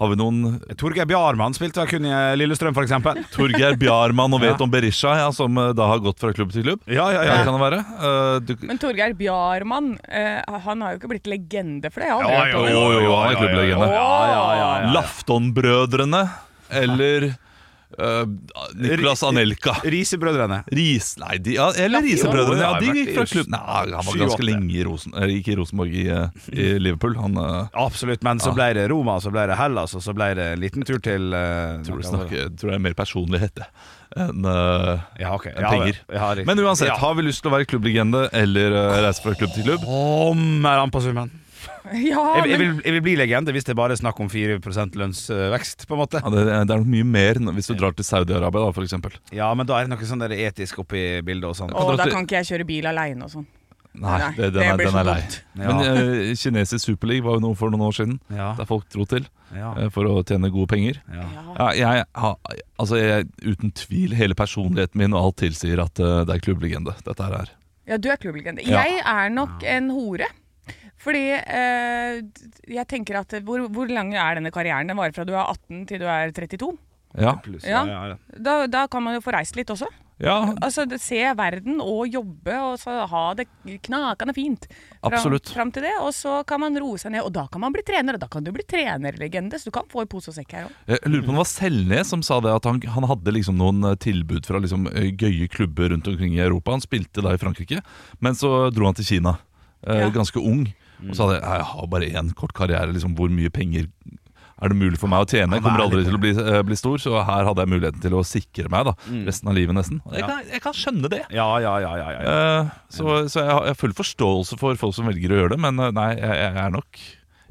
E: Har vi noen
D: Torgeir Bjarmann spilte vel kun i
B: eh,
D: Lillestrøm, for eksempel.
E: Torgeir Bjarmann og
D: [LAUGHS] Ja.
E: Veton Berisha, ja, som eh, da har gått fra klubb til klubb.
D: Ja, ja,
E: Det kan det være. Eh, du,
C: Men Torgeir Bjarmann, eh, han har jo ikke blitt legende for det. Jeg har
E: Ja,
C: aldri
E: jo,
C: hørt om
E: jo, jo, han er
D: ja, ja,
E: klubblegende.
D: ja, ja, ja, ja.
E: Lafton-brødrene eller eh, Nicolas Anelka.
D: Risebrødrene.
E: Ris, nei, de, ja,
D: Ja,
E: eller Risebrødrene. Ja,
D: jo,
E: de
D: det har
E: gikk fra
D: vært i
E: klubb Nei, han var
D: 7-8.
E: ganske lenge i, Rosen, eh, gikk i Rosenborg i, eh, i
D: [LAUGHS]
E: Liverpool. Han eh,
D: Absolutt, men så
E: Ja.
D: ble det Roma, så ble det Hellas, og så ble det en liten tur til eh, noe av
E: tror det
D: det.
E: snakker, tror det er mer personlighet det, enn eh,
D: Ja, ok.
E: enn
D: Ja,
E: penger.
D: vel. Ja, riktig.
E: Men uansett,
D: Ja.
E: har vi lyst til å være klubblegende eller eh, reise fra klubb til klubb?
D: Kommer an på summen.
C: [LAUGHS] Ja,
D: Jeg, jeg,
C: men-
D: vil, jeg vil bli legende hvis det bare er snakk om 4 lønnsvekst, på en måte.
E: Ja, det, det er nok mye mer enn hvis du drar til Saudi-Arabia, da, for eksempel.
D: Ja, men da er det noe sånn der etisk oppi bildet og sånn.
C: Å, da kan ikke jeg kjøre bil aleine og sånn.
E: Nei,
C: Nei,
E: det, den,
C: det
E: er,
C: blir
E: den
C: så
E: er lei.
C: dumt.
E: Men
D: Ja.
E: eh, kinesisk superleague var jo noe for noen år siden, der folk dro til
D: Ja.
E: eh, for å tjene gode penger.
D: Ja.
E: Ja, jeg, har- altså jeg, uten tvil, hele personligheten min og alt tilsier at eh, det er klubblegende. Dette her er
C: Ja, du er klubblegende.
E: Ja.
C: Jeg er nok en hore. Fordi eh, jeg tenker at hvor, hvor lang er denne karrieren? Den varer fra du er 18 til du er 32.
E: Ja.
C: Ja. Da, da kan man jo få reist litt også.
E: Ja.
C: Altså det- Se verden og jobbe og så ha det knakende fint fram,
E: Absolutt.
C: fram til det. Og så kan man roe seg ned, og da kan man bli trener. Og da kan du bli trenerlegende, så du kan få i pose og sekk her òg.
E: Eh, Jeg lurer på om det var Selnes som sa det, at han, han hadde liksom noen eh, tilbud fra liksom eh, gøye klubber rundt omkring i Europa. Han spilte da i Frankrike, men så dro han til Kina, eh,
C: Ja.
E: ganske ung. Og sa det, jeg har bare én kort karriere, liksom, hvor mye penger er det mulig for meg å tjene? Jeg kommer aldri til å bli, eh, bli stor, så her hadde jeg muligheten til å sikre meg da, resten av livet nesten. Og det kan, Mm. jeg kan skjønne det.
D: Ja, ja, ja, ja, ja.
E: Eh, så så jeg, har, jeg har full forståelse for folk som velger å gjøre det, men eh, nei, jeg, jeg er nok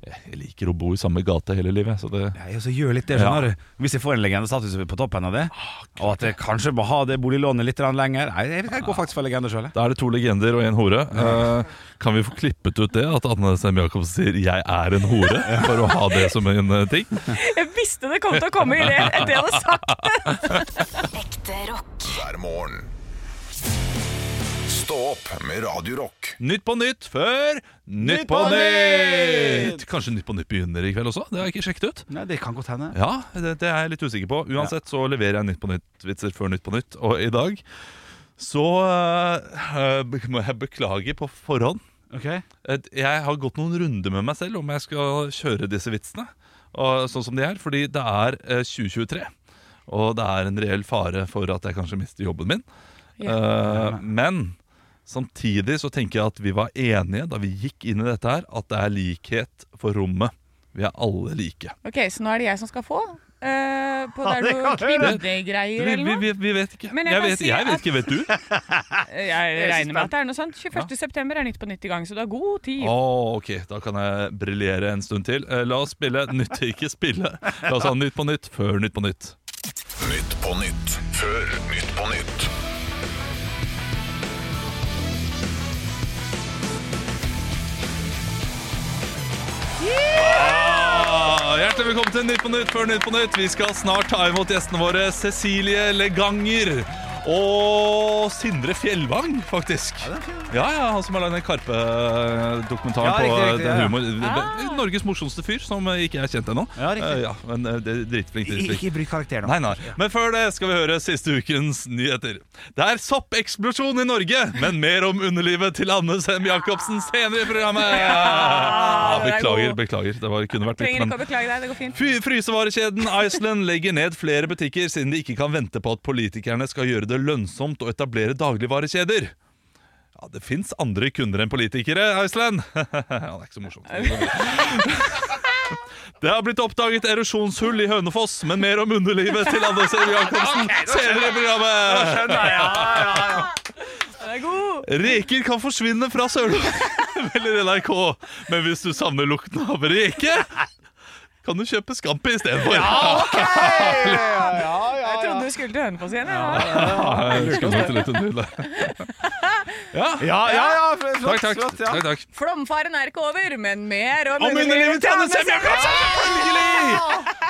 E: Jeg liker å bo i samme gate hele livet. Så det,
D: Jeg også altså, gjør litt det, skjønner du. Hvis jeg får en legendestatus på toppen av det, og at jeg kanskje må ha det boliglånet litt grann lenger Nei, jeg jeg går faktisk for legende sjøl.
E: Da er det to legender og en hore. Eh, kan vi få klippet ut det at Anne Sem Jacobsen sier 'jeg er en hore', for å ha det som en eh, ting?
C: Jeg visste det kom til å komme
E: [LAUGHS]
C: i det etter jeg hadde sagt
L: Ekte rock.
A: Hver morgen. Stå opp med Radio Rock.
E: Nytt på nytt før Nytt på nytt! Kanskje Nytt på nytt begynner i kveld også? Det har jeg ikke sjekket ut.
D: Nei, det kan godt hende.
E: Ja, det, det er jeg litt usikker på. Uansett så leverer jeg Nytt på nytt-vitser før Nytt på nytt. Og i dag så eh, be- må jeg beklage på forhånd.
D: Ok.
E: Et- Jeg har gått noen runder med meg selv om jeg skal kjøre disse vitsene. Og, sånn som de er, fordi det er eh, 2023. Og det er en reell fare for at jeg kanskje mister jobben min.
M: Ja.
E: Eh, men samtidig så tenker jeg at vi var enige da vi gikk inn i dette her, at det er likhet for rommet. Vi er alle like.
C: Ok, så nå er det jeg som skal få? Eh, på
E: Ja,
C: der
E: det
C: du
E: kan du gjøre.
C: kvinnegreier
E: Vi,
C: eller
E: vi,
C: noe?
E: vi, vi vet ikke.
C: Men jeg
E: jeg,
C: kan
E: vet,
C: si
E: jeg
C: at-
E: vet ikke. Vet
C: [LAUGHS]
E: du?
C: Jeg
E: så
C: regner med at det er noe sånt. 21. september er Nytt på Nytt i gang, så du har god tid.
E: Å, ok. Da kan jeg briljere en stund til. Eh, La oss spille Nytt ikke spille. La oss ha Nytt på nytt før Nytt på nytt.
A: Nytt på nytt før Nytt på nytt.
E: Ah, Hjertelig velkommen til Nytt på Nytt før Nytt på Nytt. Vi skal snart ta imot gjestene våre Cecilie Leganger og Sindre Fjellvang, faktisk. Ja, ja, Han som har lagd den Karpe-dokumentaren
D: Ja, riktig,
E: på
D: riktig,
E: den
D: ja, ja.
E: humor. Norges morsomste fyr, som ikke er kjent ennå.
D: Ja, riktig.
E: Eh, ja, men eh, det er dritflink, dritflink.
D: Ikke bruk karakter nå.
E: Nei, nei. Men før det skal vi høre siste ukens nyheter. Det er soppeksplosjon i Norge, men mer om underlivet til Anne Sem Jacobsen senere i programmet. Ja,
C: den er
E: beklager,
C: god.
E: beklager. Det var, kunne vært litt,
C: Trenger
E: men
C: ikke å beklage deg, det går fint.
E: Fy- Frysevarekjeden Iceland legger ned flere butikker siden de ikke kan vente på at politikerne skal gjøre det lønnsomt å etablere dagligvarekjeder. Ja, Det fins andre kunder enn politikere, Iceland. [LAUGHS] ja, det er ikke så morsomt. Det har blitt oppdaget erosjonshull i Hønefoss, men mer om underlivet til Anders Evje Jacobsen senere i programmet.
C: Den er god!
E: Reker kan forsvinne fra [LAUGHS] Sørlandet eller NRK, men hvis du savner lukten av reke, kan du kjøpe Scampi istedenfor.
C: Ja, ok!
E: Ja,
C: Jeg trodde du skulle til Hønefoss igjen.
E: jeg skulle nok til litt under det. Ja,
D: Ja, ja, ja,
E: Takk,
D: flott,
E: takk.
D: flott, ja.
E: takk, takk.
C: Flomfaren er ikke over, men mer om
E: Om underlivet til Anne Sem Jacobsen,
C: selvfølgelig!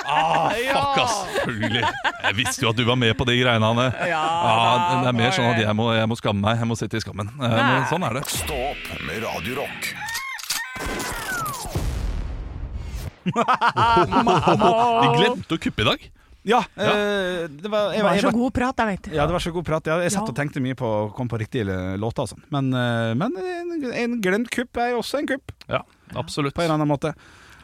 E: Ah, fuck, ass! Selvfølgelig. Jeg visste jo at du var med på de greiene, Hanne.
A: Ja,
E: Ah, det
A: da
E: er mer
A: var
E: sånn at
A: det.
E: jeg må, jeg må skamme meg. Jeg må sitte i skammen. Eh, Men sånn er det.
A: Stå opp med Radio Rock.
E: Vi glemte å kuppe i dag.
D: Ja, eh, det var, jeg,
C: Det var
D: jeg
C: så god prat, da, vet du.
D: Ja, det var så god prat. Jeg, jeg satt
C: Ja.
D: og tenkte mye på å komme på riktige låter og sånn. Men, eh, men en, en glemt kupp er jo også en kupp.
E: Ja, absolutt.
D: På en eller annen måte.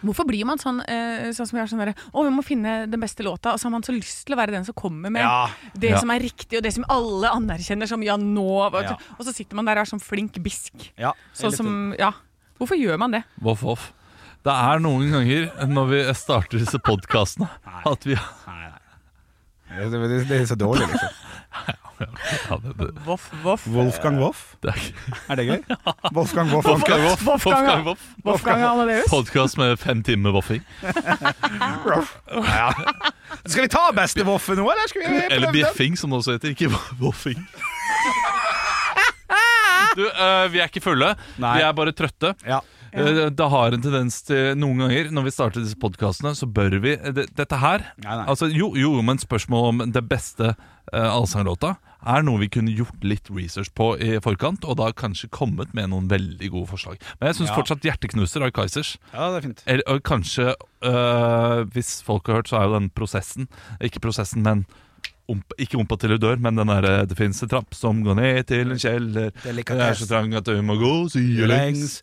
C: Hvorfor blir man sånn, eh, sånn som jeg er sånn derre Å, vi må finne den beste låta, og så har man så lyst til å være den som kommer med
D: Ja.
C: det
D: Ja.
C: som er riktig, og det som alle anerkjenner som ja, nå hva-
E: Ja.
C: Og så sitter man der og er sånn flink bisk.
D: Ja,
C: Sånn som Ja. Hvorfor gjør man det?
E: Voff, voff. Det er noen ganger når vi starter disse podkastene at vi
D: Det, det, det er så dårlig, liksom.
E: ja, det, det.
C: Voff,
D: [LAUGHS]
C: voff.
D: Wolfgang Woff?
E: Det
D: Er det gøy? [LAUGHS] Wolfgang Woff.
E: Wolfgang Woff. Wolfgang Woff.
C: Wolfgang Amadeus.
E: Podkast med fem timer voffing.
D: Ja. Skal vi ta beste Woffen nå, eller skal vi prøve
E: Eller
D: den?
E: bjeffing, som det også heter. Ikke [LAUGHS] voffing. Du, eh, vi er ikke fulle. Vi er bare trøtte. Eh, det har en tendens til noen ganger når vi starter disse podkastene, så bør vi eh, det, Dette her Altså, jo, jo, men spørsmålet om det beste eh, allsanglåta er noe vi kunne gjort litt research på i forkant, og da kanskje kommet med noen veldig gode forslag. Men jeg syns
D: Ja.
E: fortsatt 'Hjerteknuser' av Kaizers
D: Ja, det er fint.
E: Eller, og kanskje, øh, hvis folk har hørt, så er jo den prosessen Ikke prosessen, men omp, Ikke ompa til du dør, men den der, øh, det finnes en trapp som går ned til en kjeller Den er så trang at du må gå sidelengs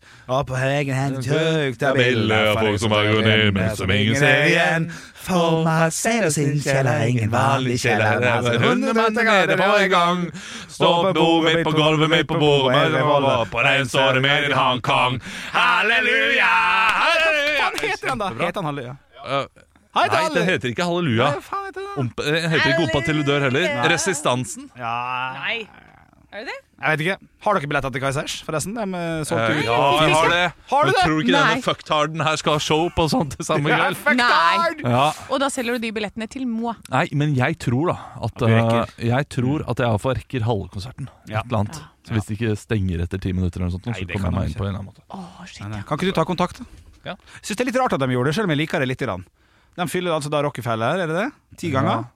D: Lengs opp på egen hand tøk
E: Det er bilder av folk som bare går ned, men som ingen ser igjen.
D: For meg ser oss inn kjeller, ingen vanlig kjeller.
E: Det er altså hundemann nede på en gang. Stå på bordet mitt på gulvet mitt på bordet med revolver. På den står det mer enn Hong Kong. Halleluja! Halleluja!
D: Heter han da? Heter han Halleluja?
E: Øh,
D: Hei, det er
E: Nei, det
D: alle-
E: heter ikke Halleluja. Ompa- det heter ikke Ompa til du dør heller.
D: Nei.
E: Resistansen.
D: Ja
C: Nei. Er det det?
D: Jeg vet ikke. Har dere billetter til Kaizers, forresten? De eh, solgte
E: Eh,
D: ut.
E: ja, jeg har det.
D: Har du
E: Men
D: det?
E: Tror du ikke
C: Nei.
E: denne fucktarden her skal ha show på sånt til samme
D: [LAUGHS] Ja,
E: kveld?
C: Nei.
E: Ja.
C: Og da selger du de billettene til Moa.
E: Nei, men jeg tror da at,
D: At vi rekker.
E: eh, jeg tror at jeg iallfall rekker halve konserten. Et eller annet. Så hvis det ikke stenger etter ti minutter, eller noe sånt,
D: Nei,
E: så
D: det kan
E: kommer jeg meg
D: de
E: inn på en eller annen måte.
D: Nei, nei. Kan ikke du ta kontakt? da?
E: Ja.
D: Syns det er litt rart at de gjorde det, selv om jeg liker det litt. Grann. De fyller altså da Rockefeller, er det det? Ti ganger?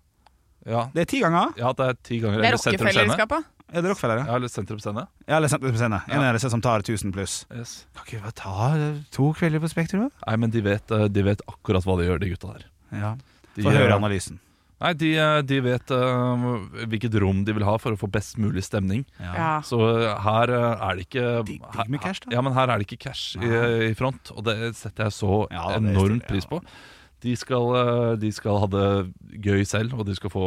E: Ja.
D: Det er ti ganger?
E: Ja, det er ti ganger.
C: Det er
E: eller Sentrum Scene.
C: Rockefellerskapet.
D: Er det Rockefeller, ja?
E: Ja, eller Sentrum Scene.
D: Ja, eller Sentrum Scene. En av disse som tar 1000 pluss.
E: Yes.
D: Kan ikke vi bare ta eh, to kvelder på Spektrum? da?
E: Nei, men de vet, eh, de vet akkurat hva de gjør, de gutta der.
D: Ja.
E: De,
D: Få høre
E: eh,
D: analysen.
E: Nei, de, eh, de vet eh, hvilket rom de vil ha for å få best mulig stemning.
C: Ja.
E: Så eh, her eh, er det ikke her, Ja, men her er det ikke cash i, i front, og det setter jeg så
D: det er
E: enormt pris på. De skal, eh, de skal ha det gøy selv, og de skal få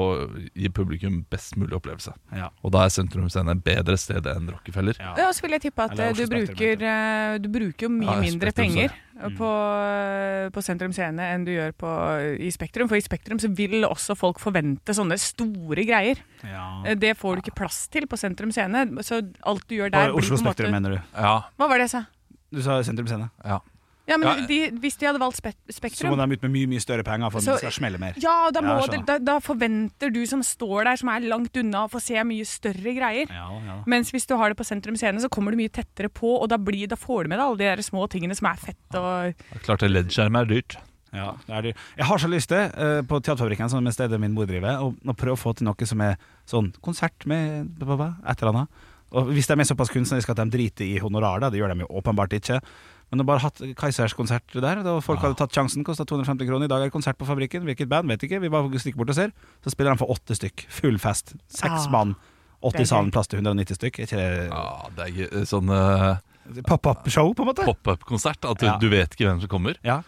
E: gi publikum best mulig opplevelse.
D: Ja.
E: Og da er Sentrum Scene et bedre sted enn Rockefeller.
C: Ja, og så vil jeg tippe at
E: Eller
C: eh, du
E: Oslo
C: bruker, eh, du bruker jo mye
E: Ja,
C: mindre
E: Spektrum,
C: penger eh,
E: sorry.
D: Mm.
C: på, eh, på Sentrum Scene enn du gjør på, eh, i Spektrum. For i Spektrum så vil også folk forvente sånne store greier. Eh, Det får du ikke plass til på Sentrum Scene. Så alt du gjør der
D: På Oslo
C: blir på en måte
D: Spektrum, mener du?
E: Ja.
C: Hva var det jeg sa?
D: Du sa Sentrum Scene.
E: Ja.
C: Ja, men
D: Ja,
C: de, Hvis de hadde valgt spek
D: Så må
C: Spektrum
D: de ut med mye mye større penger for at
C: Så-
D: det skal smelle mer.
C: ja, da, må
D: jeg
C: det,
D: skjønner.
C: da, da forventer du som står der, som er langt unna, å få se mye større greier.
D: Ja, ja.
C: Mens hvis du har det på Sentrum Scene, så kommer du mye tettere på, og da, blir, da får du med deg alle de der små tingene som er fett og
E: Det er Klart det LED-skjerm er dyrt.
D: Ja, det er det. Jeg har så lyst til, eh, på Teaterfabrikken, som er stedet min mor driver, å, å prøve å få til noe som er sånn konsert med bla, bla, bla, et eller annet. Og hvis de er såpass kunstneriske at de driter i honorar, da, det gjør de jo åpenbart ikke. Men å bare hatt Kaizers konsert der, da folk hadde tatt sjansen, kosta 250 kroner. I dag er det konsert på Fabrikken, hvilket band, vet ikke. Vi bare stikker bort og ser. Så spiller de for åtte stykk, full fest. Seks
E: Ah,
D: mann.
E: det er
D: 80 i salen, plass til 190 stykk. Er ikke det
E: Ja, det er gøy. Eh, sånn eh,
D: pop-up-show, på en måte?
E: pop-up-konsert. At du,
D: Ja.
E: du vet ikke hvem som kommer.
D: Ja.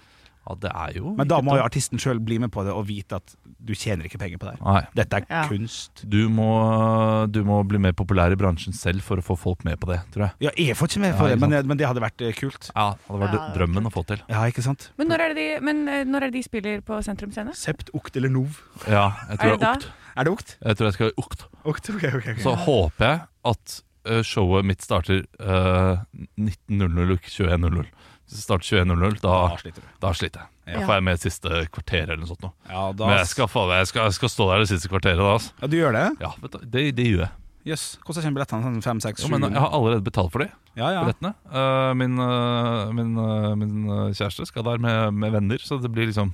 E: det er jo
D: Men da
E: ikke
D: må jo
E: dumt.
D: artisten sjøl bli med på det og vite at du tjener ikke penger på det. her.
E: Nei.
D: Dette er kunst.
E: Du må, du må bli mer populær i bransjen selv for å få folk med på det, tror jeg.
D: Ja, jeg får ikke med
E: Ja,
D: for det,
E: ikke
D: men, men det hadde vært eh, kult.
E: Ja, det var
C: Ja, det var
E: drømmen å få til.
D: Ja, ikke sant?
C: Men når er det de, men, eh, når er det de spiller på Sentrum Scene?
D: Sept, okt eller nov.
E: Ja, jeg tror
C: Er det
E: det
C: da?
E: er okt.
D: Er det okt?
E: Jeg tror jeg skal i okt.
D: Okt, ok, ok, ok.
E: Så håper jeg at eh, showet mitt starter eh, 19.00 og ikke 21.00. Hvis det starter 21.00, da,
D: Da sliter du.
E: da sliter jeg.
D: Ja.
E: Da får jeg med siste kvarter eller noe sånt. Nå.
D: Ja, da-
E: Men jeg skal, faen meg- jeg, skal, jeg skal stå der det siste kvarteret da, altså.
D: Ja, du gjør det?
E: Ja, vet du, det, det gjør jeg.
D: Jøss. Hvordan kommer billettene? Sånn fem, seks,
E: Jo,
D: sju?
E: men jeg har allerede betalt for de
D: Ja, ja.
E: billettene. Eh, min, eh, min, eh, min eh, kjæreste skal der med, med venner, så det blir liksom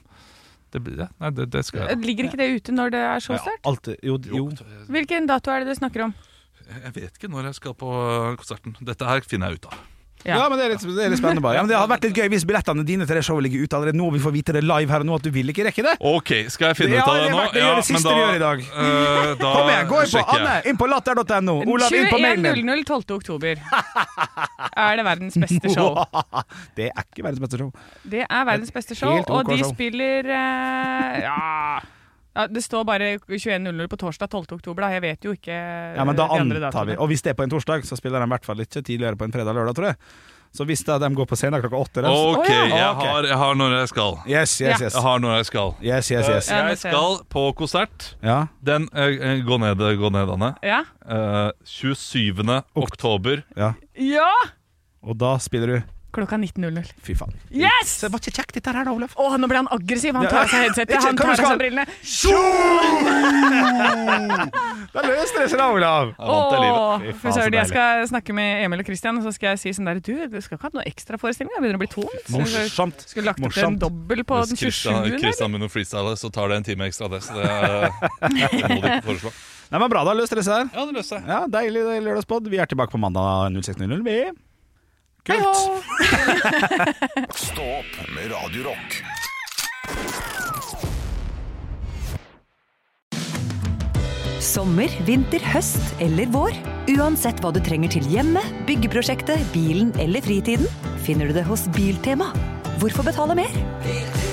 E: det, blir, ja, nei, det, det skal jeg.
C: Eh, Ligger ikke det ute når det er showstart?
D: Alt, jo, jo.
C: Hvilken dato er det du snakker om?
E: Jeg vet ikke når jeg skal på konserten. Dette her finner jeg ut av.
D: Ja, men det er, litt, det er litt spennende bare. Ja, men det hadde vært litt gøy hvis billettene dine til det showet ligger ute allerede nå. Vi får vite det live her og nå at du vil ikke rekke det.
E: Ok, skal jeg finne
D: Ja,
E: ut av det
D: det
E: nå?
D: var- det gjør det siste vi gjør i dag. [LAUGHS]
E: eh, da
D: Kom igjen, gå inn på
E: sjekker jeg.
D: Anne, inn på latter.no. Olav, inn på mailen din.
C: 21.00 12. oktober. Er det verdens beste show?
D: [LAUGHS] Det er ikke verdens beste show.
C: Det er verdens beste show,
D: Helt ok
C: og de
D: show.
C: spiller eh, ja. ja Det står bare 21.00 på torsdag 12. oktober, da. Jeg vet jo ikke eh,
D: Ja, men da
C: de andre
D: antar vi.
C: datoene.
D: Og hvis det er på en torsdag, så spiller de i hvert fall ikke tidligere på en fredag eller lørdag, tror jeg. Så hvis da de går på scenen klokka åtte da, så-
E: Ok,
D: Å,
E: jeg
D: ja. Ah, Ok.
E: har, jeg har når jeg skal.
D: Yes, yes, yes.
E: Jeg har når jeg skal.
D: Yes, yes, yes.
E: Eh,
D: Ja, nå
E: Jeg
D: ser jeg.
E: skal på konsert.
D: Ja.
E: Den eh, eh, Gå ned, gå ned, Anne.
C: Ja.
E: Eh, 27. oktober.
C: Ja!
D: Og da spiller du
C: Klokka 19.00.
D: Fy faen.
C: Yes!
D: Det var ikke kjekt, dette her da, Olaf.
C: Å, nå ble han aggressiv. Han
D: Ja.
C: tar av seg headsetet,
D: Ikke-
C: han
D: kom,
C: tar av
D: skal-
C: seg brillene.
D: Da løste det seg da, Olav.
C: Åh,
D: Fy faen,
C: fy
D: så
C: søren, jeg
D: deilig.
C: skal snakke med Emil og Christian, og så skal jeg si sånn der Du, du skal ikke ha noe ekstraforestilling? Jeg begynner å bli tom.
D: Morsomt.
C: Skulle lagt opp til en
E: Morsomt.
C: dobbel på den
E: Hvis Christian-
C: 27. eller?
E: Christian begynner å freestyle, så tar det en time ekstra, det. Så det er- det må du ikke foreslå.
D: Nei, men Bra, da løste det seg.
E: Ja, det løste
D: Ja, Deilig det er lørdagspod. Vi er tilbake på mandag 06.00. Vi
A: Stå opp med Radio Rock.
M: Sommer, vinter, høst eller vår. Uansett hva du trenger til hjemme, byggeprosjektet, bilen eller fritiden, finner du det hos Biltema. Hvorfor betale mer? Biltema.